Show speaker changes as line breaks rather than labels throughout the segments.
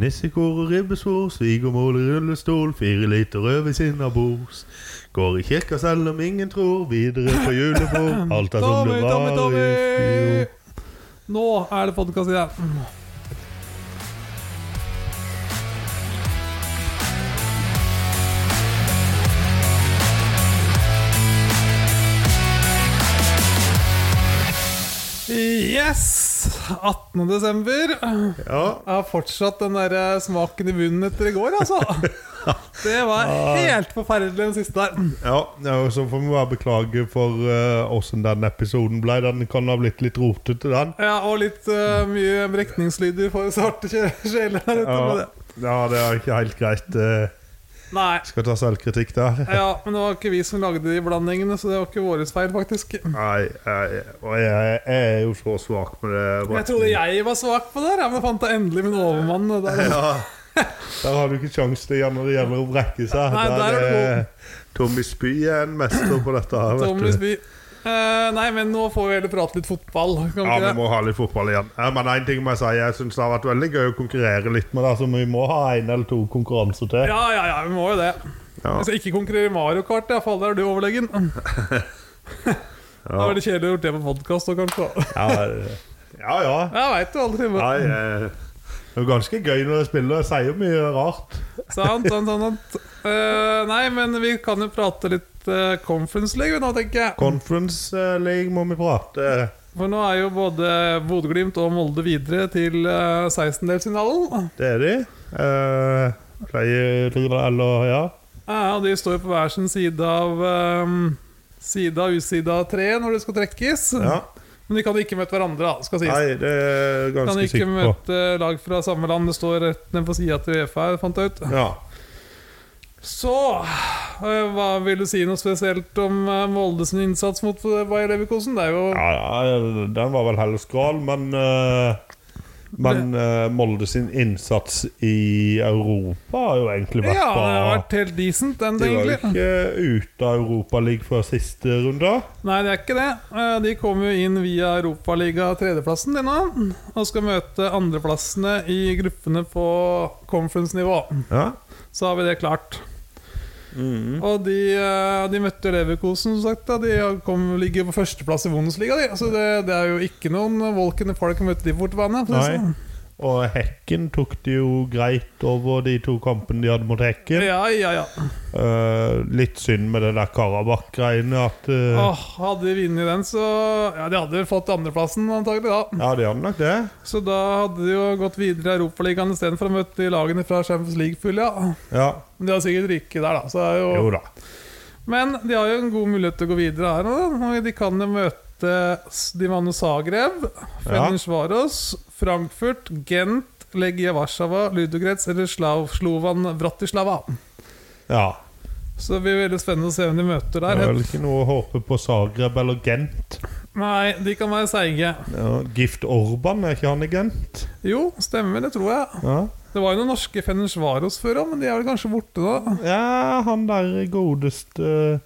Nissekor og ribbesvor, svigermor i rullestol, fire liter rødvin innabords. Går i kirka selv om ingen tror, videre på julebord. Alt er som
Tommy,
det
Tommy,
var i
Tommy!
fjor.
Nå er det podkast igjen. Yes! 18. desember Jeg
Ja.
har fortsatt den der eh, smaken i munnen etter i går, altså. Det var helt forferdelig, den siste der.
ja, ja, og så får vi bare beklage for eh, åssen den episoden ble. Den kan ha blitt litt rotete, den.
Ja, og litt eh, mye brekningslyder for svarte kje- sjeler her ute. med
Ja,
det.
ja det er ikke helt greit. eh,
Nei.
Skal ta selvkritikk der.
Ja, men det var ikke vi som lagde de blandingene, så det var ikke våres feil, faktisk.
Nei, jeg, og jeg, jeg er jo så svak med det.
Jeg trodde jeg var svak på det, her, ja, men jeg fant da endelig min overmann. Der.
Ja. Der har du ikke kjangs til igjen når det gjelder å brekke seg.
Nei, der er du
Tommy Spy er en mester på dette her,
Thomas
vet du.
By. Eh, nei, men nå får vi heller prate litt fotball. Kan
Ja,
vi
vi
ikke det?
må ha litt fotball igjen. Eh, Men en ting må jeg si, jeg syns det har vært veldig gøy å konkurrere litt med deg, så vi må ha én eller to konkurranser til.
Ja, ja, ja, vi må jo det.
Ja.
Hvis jeg ikke konkurrerer i Mario Kart, ja, faen, der er du overlegen. Det var veldig kjedelig å gjort det på podkast òg, kanskje.
Ja, eh, ja. ja.
Jeg veit jo aldri. Men.
Nei, eh, det er jo ganske gøy når jeg spiller, jeg sier jo mye rart.
Sant, sant, sant. sant. Eh, nei, men vi kan jo prate litt eh, Conference League nå, tenker jeg.
Conference eh, League må vi prate
For nå er jo både Bodø-Glimt og Molde videre til eh, 16-delsfinalen.
Det er de. Eh, Pleier eller ja.
Ja, Eh, og de står jo på hver sin side av eh, Side av usida tre når det skal trekkes.
ja.
Men de kan ikke møte hverandre, da, skal sies.
Nei, det er jeg
kan
ganske
ikke
sikker på.
møte lag fra samme land. Det står rett ned på sida til Uefa, her, fant jeg ut.
Ja.
Så eh, hva vil du si noe spesielt om eh, Molde sin innsats mot eh, Bayer Leverkosen? Det er jo
Ja, ja, den var vel heller skral, men eh, Men eh, Molde sin innsats i Europa har jo egentlig vært
Ja, det har
bra.
vært helt decent, den,
De var jo
egentlig.
ikke ute av Europaligaen før siste runde.
Nei, det er ikke det. Eh, De kom jo inn via Europaliga tredjeplassen de nå, og skal møte andreplassene i gruppene på conference-nivå.
Ja.
Så har vi det klart. Og de, eh, de møtte Leverkosen, som sagt. Da. De har- kom, ligger på førsteplass i Bundesliga, de. Så det, det er jo ikke noen Walken Park å møte de på bortebane. for å si det
Nei.
sånn.
Og Hekken tok det jo greit over de to kampene de hadde mot Hekken.
Ja, ja, ja.
Eh, litt synd med det der Karabakh-greiene at eh,
Åh, hadde de vunnet den, så Ja, de hadde vel fått andreplassen, antagelig da.
Ja, de hadde nok det.
Så da hadde de jo gått videre i Europaligaen istedenfor å møte de lagene fra Champions League full, ja.
Ja.
Men de har sikkert ryket der, da. Så det er jo...
Jo da.
Men de har jo en god mulighet til å gå videre her nå. da. Og De kan jo møte Dimano Zagreb, Fenersvaros, Frankfurt, Gent, Legia Warszawa, Ludogrets eller Slav, Slovan Bratislava.
Ja.
Så det blir veldig spennende å se hvem de
Det
møter der.
er vel ikke noe å håpe på Zagreb eller Gent.
Nei, de kan være seige.
Ja, Gift Orban, er ikke han i Gent?
Jo, stemmer, det tror jeg.
Ja.
Det var jo noen norske Fenersvaros før òg, men de er vel kanskje borte nå.
ja, han der godeste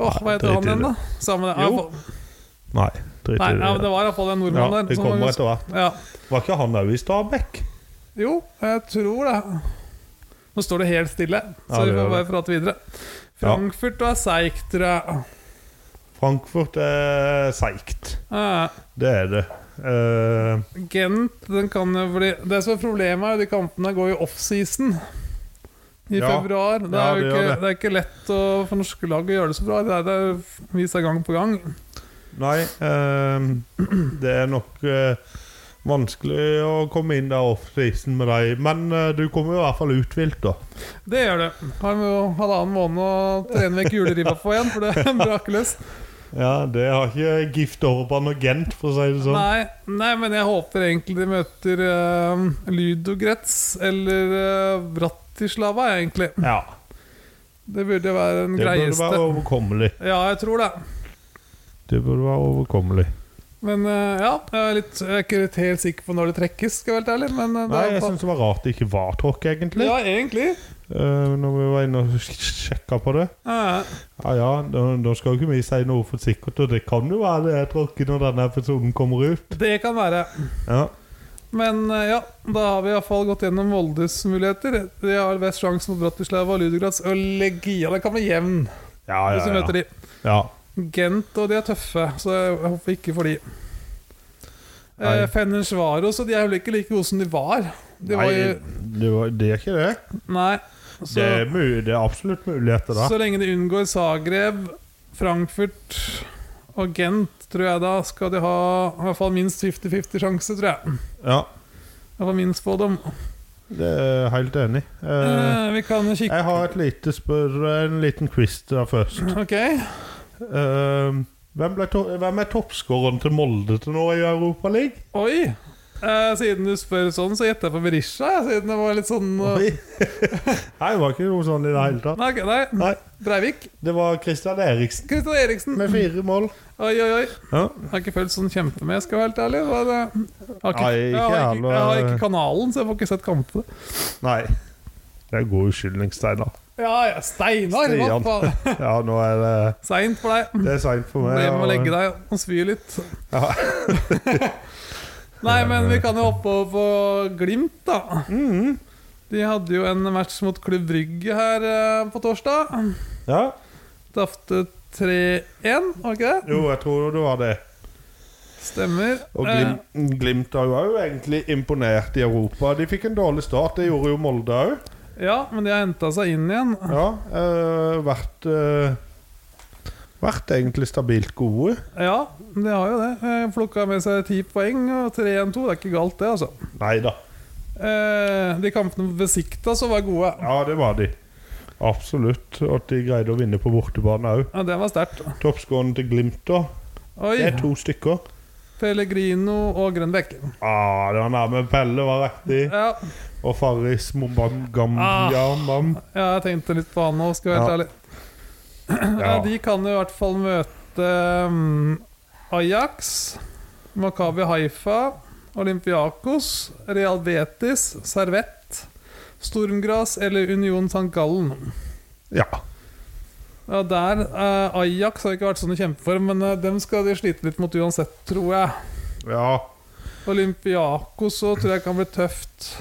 Åh, Hva heter han
drit i
igjen, da?
det.
Samme det.
Jo.
Ja,
Nei, drit
Nei,
i
ja, men det
det.
var iallfall en
Ja,
nordmann der.
det
som
kommer
var-
etter hvert.
Ja.
Var ikke han òg i Stabekk?
Jo, jeg tror det. Nå står det helt stille, så
Ja, det
vi får
gjør
bare prate videre. Frankfurt var seigt, tror jeg.
Frankfurt er seigt.
Eh,
Det er det. Eh,
Gent den kan jo bli Det som er problemet, er jo de kampene går i offseason. I
Ja.
februar. Det
Ja,
er jo
det gjør
ikke,
det.
det er ikke lett å, for norske lag å gjøre det så bra. Det er det er vist seg gang på gang.
nei, eh, det er nok eh, vanskelig å komme inn der offseason med deg. Men eh, du kommer jo i hvert fall uthvilt, da.
Det gjør det. Har vi jo halvannen måned å trene vekk juleribba på igjen, for det braker løs.
Ja, det har ikke Gift Orban og Gent, for å si det sånn.
Nei, nei, men jeg håper egentlig de møter uh, Ludogrets eller uh, Bratislava, jeg, egentlig.
Ja,
Det burde være den
det burde
greieste.
være overkommelig.
Ja, jeg tror det.
Det burde være overkommelig.
Men eh, ja, jeg er, litt, jeg er ikke litt helt sikker på når det trekkes, skal jeg være helt ærlig. Men eh, det
Nei,
er
jeg
på-
syns det var rart det ikke var tråkk, egentlig.
Ja, egentlig.
Eh, når vi var inne og sjekka på det.
Ja,
Ja ja, da, da skal jo ikke vi si noe for sikkert, og det kan jo være det er tråkk når denne episoden kommer ut.
det kan være.
Ja,
Men eh, ja, da har vi iallfall gått gjennom Voldes muligheter. De har best sjanse mot Bratislava, Ludogorets og Legia. Den kan bli jevn
Ja,
hvis
ja,
vi møter
ja.
de.
ja.
Gent og de er tøffe, så jeg håper ikke for de. Eh,
Nei.
Fenersvaro, så de er vel ikke like gode som de var.
Nei,
De var jo,
det, var, det er ikke det.
nei. Så,
det, er mu det er absolutt muligheter, da.
så lenge de unngår Zagreb, Frankfurt og Gent, tror jeg da skal de ha i hvert fall minst 50-50 sjanse, tror jeg.
Ja,
I hvert fall minst på dem.
det er jeg helt enig. i. Eh,
Eh, vi kan jo kikke
jeg har et lite spør, en liten quiz til deg først.
Ok.
Eh, hvem, ble to hvem er toppskåreren til Molde til nå i Europaligaen?
Oi! Eh, siden du spør sånn, så gjetter jeg på Berisha. jeg, Siden det var litt sånn eh,
Nei, det var ikke noe sånn i det hele tatt.
Nei, ok, nei.
Nei,
Breivik.
det var Christian Eriksen
Kristian Eriksen.
med fire mål.
Oi, oi, oi.
Ja.
Jeg har ikke følt sånn kjempe med, skal jeg være helt ærlig. Hva er det? Jeg har ikke,
Nei, ikke
jeg har
jeg
ikke,
heller.
jeg har ikke kanalen, så jeg får ikke sett kampene.
Nei. Det er god unnskyldning, Steinar.
Ja, ja, Steinar! hva
Stian.
faen?
Ja, nå er det
Seint for deg.
Det er seint for meg.
Ble med å
og-
legge deg og spy litt.
Ja.
Nei, men vi kan jo hoppe over på Glimt, da.
Mhm.
De hadde jo en match mot Klubb Brygge her eh, på torsdag.
ja.
Tapte 3-1, var det ikke det?
Jo, jeg tror det var det.
Stemmer.
Og
Eh,
Glimt, Glimt har jo òg egentlig imponert i Europa. De fikk en dårlig start, det gjorde jo Molde òg.
Eh, Ja, men de har henta seg inn igjen.
Ja, eh, vært eh, Vært egentlig stabilt gode.
Ja, de har jo det. Eh, Plukka med seg ti poeng og 3-1-2. Det er ikke galt, det, altså.
Nei da.
Eh, de kampene på Besikta så var gode.
Ja, det var de. Absolutt. At de greide å vinne på bortebane òg.
Ja, det var sterkt.
Toppskåreren til Glimt, da.
Oi!
Det er to stykker.
Pellegrino og Grønbekk.
Ah, det var nærme Pelle var riktig.
Ja,
Og Farris Mombam Gambiamam.
ja, jeg tenkte litt på han nå, skal jeg være
Ja.
helt ærlig. Ja.
Ja.
de kan jo i hvert fall møte mm, Ajax, Makabi Haifa, Olympiakos, Real Betis, Servett, Stormgras eller Union St. Gallen.
Ja.
Ja, der, eh, Ajax har ikke vært sånn i kjempeform, men eh, dem skal de slite litt mot uansett, tror jeg.
ja.
Olympiakos så tror jeg kan bli tøft,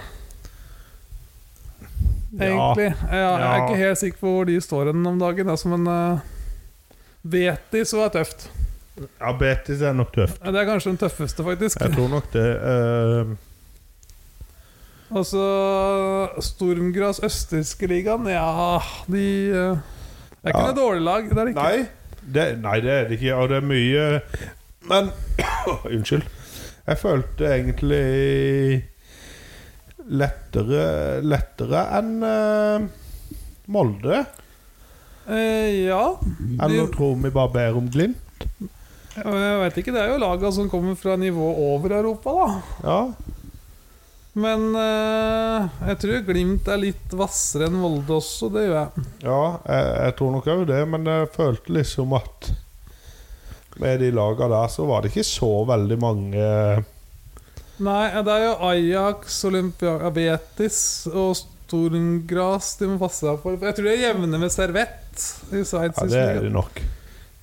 egentlig. Ja. jeg er
Ja.
ikke helt sikker på hvor de står hen om dagen, altså, men eh, Betis var tøft.
Ja, Betis er nok tøft.
Ja, Det er kanskje den tøffeste, faktisk.
Jeg tror nok det. eh,
Og så Stormgras østerrikske ligaen, ja De eh, Det er ikke
Ja.
noe dårlig lag. Det er det ikke.
nei, det, nei, det er det ikke. Og det er mye Men Unnskyld. Jeg følte egentlig lettere, lettere enn eh, Molde.
Eh, ja.
Eller tror vi bare ber om Glimt?
Ja, men Jeg vet ikke, Det er jo laga som kommer fra nivået over Europa, da.
Ja.
Men eh, jeg tror Glimt er litt hvassere enn Molde også, det gjør jeg.
Ja, jeg, jeg tror nok òg det, men jeg følte liksom at med de laga der, så var det ikke så veldig mange
Nei, det er jo Ajax, Olympia Betis og Stormgras de må passe seg for. Jeg tror de er jevne med Servett i
Ja, det er
Sveits.
de nok.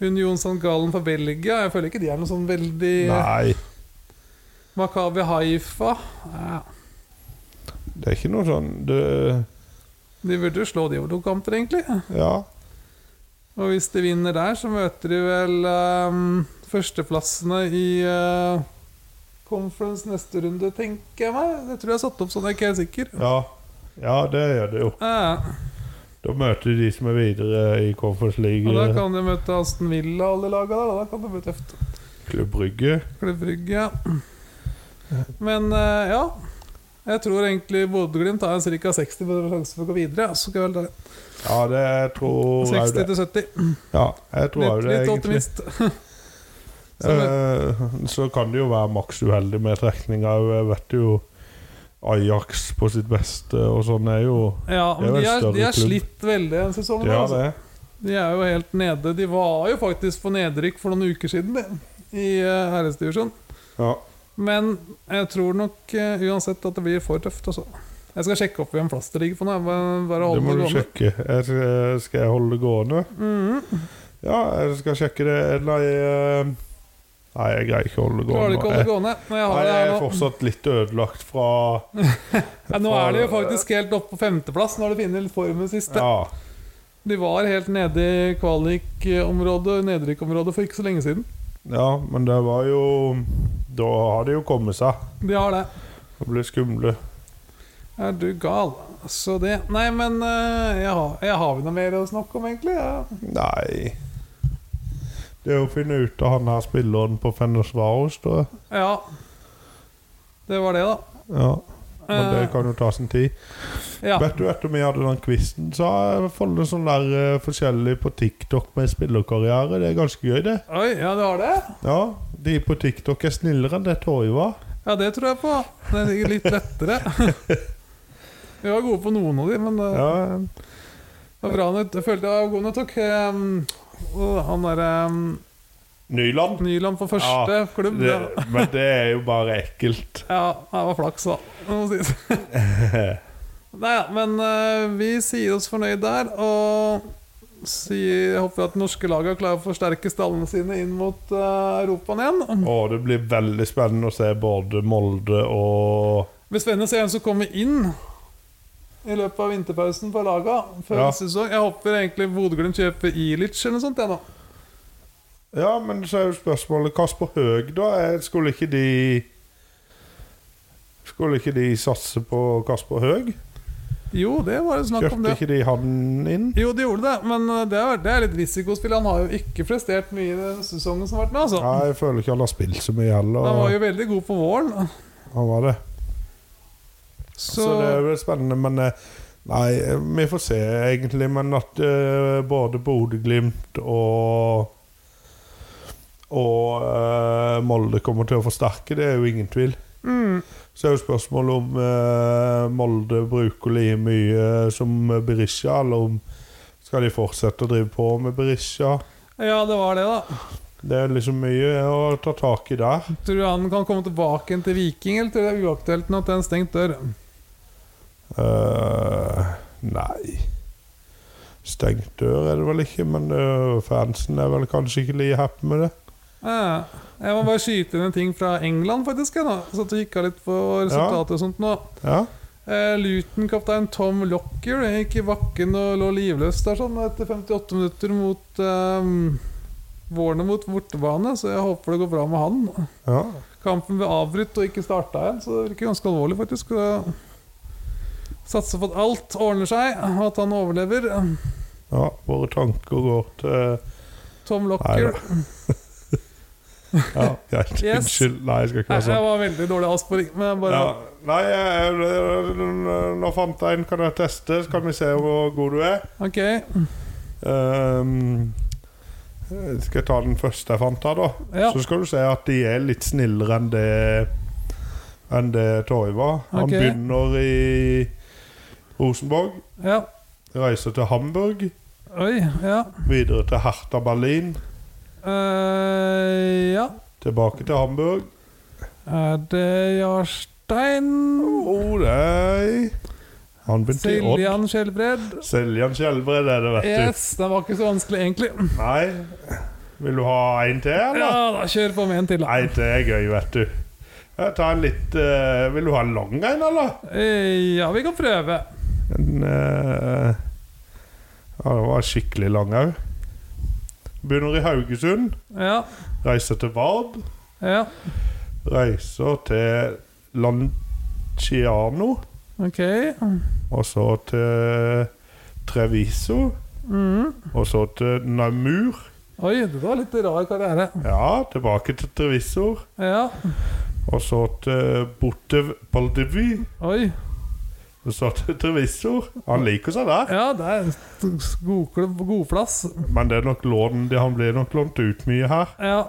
Union St. Gallen for Belgia. Jeg føler ikke de er noe sånn veldig
Nei,
Makabi Haifa. Ja,
det er ikke noe sånn det,
de burde jo slå de over to kamper, egentlig.
Ja.
Og hvis de vinner der, så møter de vel ehm, førsteplassene i eh, conference neste runde, tenker jeg meg. Det tror jeg er satt opp sånn, jeg er ikke helt sikker.
Ja, ja det gjør det jo.
Eh,
Da møter du de som er videre i Conference
og da
League,
kan de møte Aston Villa og alle lagene der. og Da kan de bli tøft.
Klubb Brygge.
Klubb Brygge, ja. Men eh, ja. Jeg tror egentlig Bodø-Glimt har en ca. 60 sjanse for å gå videre. ja, Så skal jeg vel ta
Ja, det jeg tror jeg jo
60
det.
til 70.
Ja, jeg tror jeg jo
Litt,
det,
litt
egentlig.
optimist. Så møter-
Eh, Så kan det jo være maks uheldig med trekninga òg. Jeg vet jo Ajax på sitt beste og sånn er jo
Ja,
det er
men
jo en
de har,
større
de har
klubb.
slitt veldig denne sesongen.
Ja,
altså.
det.
De er jo helt nede. De var jo faktisk på nedrykk for noen uker siden, de, i uh, herresdivisjon.
Ja.
Men jeg tror nok eh, uansett at det blir for tøft, altså. Jeg skal sjekke opp hvem plass det ligger på nå. jeg Bare, bare
Det
holde
må
det
du
gående.
sjekke. Jeg skal,
Mm.
skal jeg holde det gående? Ja, jeg skal sjekke det. Nei eh, Nei, jeg greier ikke å holde det
Klarer
gående.
ikke å holde
nå.
gående. Når jeg
Jeg,
har
nei,
det
jeg
her
er
nå.
fortsatt litt ødelagt fra
Ja, nå er det jo faktisk helt oppe på femteplass. Nå har du funnet litt formen siste.
Ja.
De var helt nede i kvalikområdet, nedrykkområdet, for ikke så lenge siden.
ja, men det var jo Da har det jo kommet seg.
De har det.
Det blir skumle.
Er du gal? Så det Nei, men eh, jeg har, jeg har vi noe mer å snakke om, egentlig? Ja.
Nei Det er å finne ut av han her spilleren på Fenersvaros, da.
ja. Det var det, da.
Ja. Men det
Eh,
kan jo ta sin tid.
ja.
Vet du etter vi hadde den quizen, så har jeg funnet sånn der eh, forskjellig på TikTok med spillerkarriere. Det er ganske gøy, det.
Oi, ja, du har det?
Ja, De på TikTok er snillere enn det Torje var.
Ja, det tror jeg på. Det er sikkert litt lettere. Vi var gode på noen av de, men eh,
Ja,
det var bra han Jeg følte jeg var god når jeg tok eh, og han derre
Nyland.
Nyland på første klubb.
Det,
Ja.
men det er jo bare ekkelt.
Ja, det var flaks, da. Det må sies. Nei da, men eh, vi sier oss fornøyd der. Og sier, håper at de norske lagene klarer å forsterke stallene sine inn mot uh, Europaen igjen.
Og det blir veldig spennende å se både Molde og
Det blir spennende å se hvem som kommer inn i løpet av vinterpausen for lagene før
Ja.
neste sesong. Jeg håper egentlig Bodø-Glimt kjøper Ilic eller noe sånt. Jeg, nå.
Ja, men så er jo spørsmålet Kasper Høeg, da? Er- Skulle ikke de Skulle ikke de satse på Kasper Høeg?
Jo, det var jo snakk om
Kjøpte
det.
ikke de han inn?
Jo, de gjorde det, men eh, det er, det er litt risikospill. Han har jo ikke prestert mye i den sesongen som har vært med. altså
Nei, jeg føler ikke han har spilt så mye heller.
Han var jo veldig god på våren.
Han var det.
Så,
Så, det er vel spennende, men eh, Nei, vi får se, egentlig. Men at eh, både Bodø-Glimt og og eh, Molde kommer til å forsterke, det er jo ingen tvil.
mm,
Så er jo spørsmålet om eh, Molde bruker like mye som Berisha, eller om skal de fortsette å drive på med Berisha?
Ja, det var det, da.
Det er liksom mye å ta tak i der.
Tror du han kan komme tilbake igjen til Viking, eller tror du det er uaktuelt nå at det er en stengt dør?
Eh, nei Stengt dør er det vel ikke, men eh, fansen er vel kanskje ikke like happy med det.
Eh, Jeg må bare skyte inn en ting fra England, faktisk. Jeg, nå, så at du kikka litt på resultatet og sånt nå.
Ja,
Eh, Luton-kaptein Tom Lockyer gikk i bakken og lå livløs der sånn etter 58 minutter mot eh, Warner mot bortebane, så jeg håper det går bra med han.
ja.
Kampen ble avbrutt og ikke starta igjen, så det virker ganske alvorlig, faktisk. Så Satser på at alt ordner seg, og at han overlever.
ja Våre tanker går til
Tom Lockyer.
Nei, Ja, greit.
Yes.
Unnskyld. Nei, jeg skal ikke
Nei,
være
det
sånn.
var veldig dårlig avsporing. Men jeg bare
Ja. Nei, jeg- jeg- nå fant jeg en. Kan jeg teste? Så kan vi se hvor god du er.
Ok.
Ehm, skal jeg ta den første jeg fant her, da?
Ja.
Så skal du se at de er litt snillere enn det Enn det Torje var. Han
Ok.
begynner i Rosenborg,
Ja.
reiser til Hamburg,
Oi. Ja.
videre til Hertha Berlin,
Eh, ja.
tilbake til Hamburg
Er det Jarstein
oh, nei. Han begynte i Odd.
Siljan Skjelbred?
Seljan Skjelbred er det, vet du.
Yes, den var ikke så vanskelig, egentlig.
Nei. Vil du ha en til, eller?
Ja, da Kjør på med en til, da.
Nei, det er gøy, vet du. Jeg tar en litt eh, Vil du ha en lang en, eller?
Eh, Ja, vi kan prøve.
En, eh, ja, det var skikkelig lang òg. Begynner i Haugesund,
Ja.
reiser til Vard,
Ja.
reiser til Lanciano,
Ok.
og så til Treviso,
Mm.
og så til Namur.
Oi, det var litt rar karriere.
Ja, tilbake til Treviso,
Ja. og
og så til Botev Baldevy,
Oi.
og så til Treviso. Han liker seg der.
Ja, det er godklubb, godplass.
Men det er nok lån, det, han blir nok lånt ut mye her.
Ja.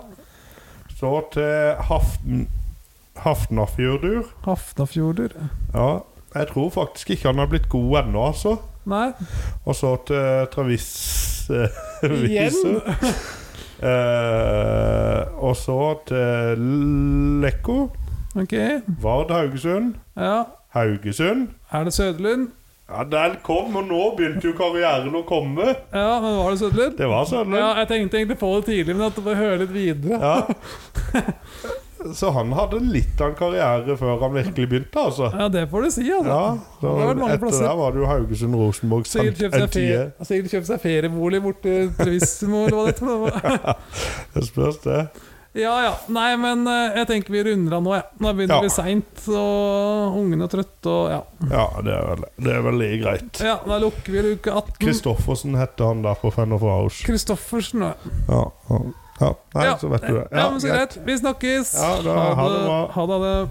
Så til Haften, Hafnarfjordur.
Hafnafjorder.
Ja, jeg tror faktisk ikke han har blitt god ennå, altså.
Nei.
Og så til Travis
Igjen?
Eh, og så til Lekko,
Ok.
Vard Haugesund,
Ja.
Haugesund,
Er det Søderlund?
Ja, Den kom, og nå begynte jo karrieren å komme.
Ja, men var det Sødlund?
Det var sånn.
Ja, jeg tenkte egentlig på det tidlig, men at du får høre litt videre.
Ja. Så han hadde litt av en karriere før han virkelig begynte, altså.
Ja, det får du si, altså.
Ja, så
Det var mange
Etter
plasser.
der var det jo Haugesund, Rosenborg,
Sikkert
Sant-
kjøpt seg, ferie,
NTIE.
sikkert kjøpt seg feriebolig borte i Trevissimo eller hva det heter.
E. Det spørs, det.
Ja ja. Nei, men eh, jeg tenker vi runder av nå, jeg. Nå begynner
Ja.
det å bli seint, og ungene er trøtte og ja.
Ja, det er vel, det er vel like greit.
ja. Da lukker vi uke 18.
Kristoffersen heter han der på Fan of House.
Kristoffersen, ja.
Ja, ja. ja. Nei,
Ja.
så vet du det.
Ja, men så greit. Vi snakkes.
Ja, da, ha det bra.
Ha det.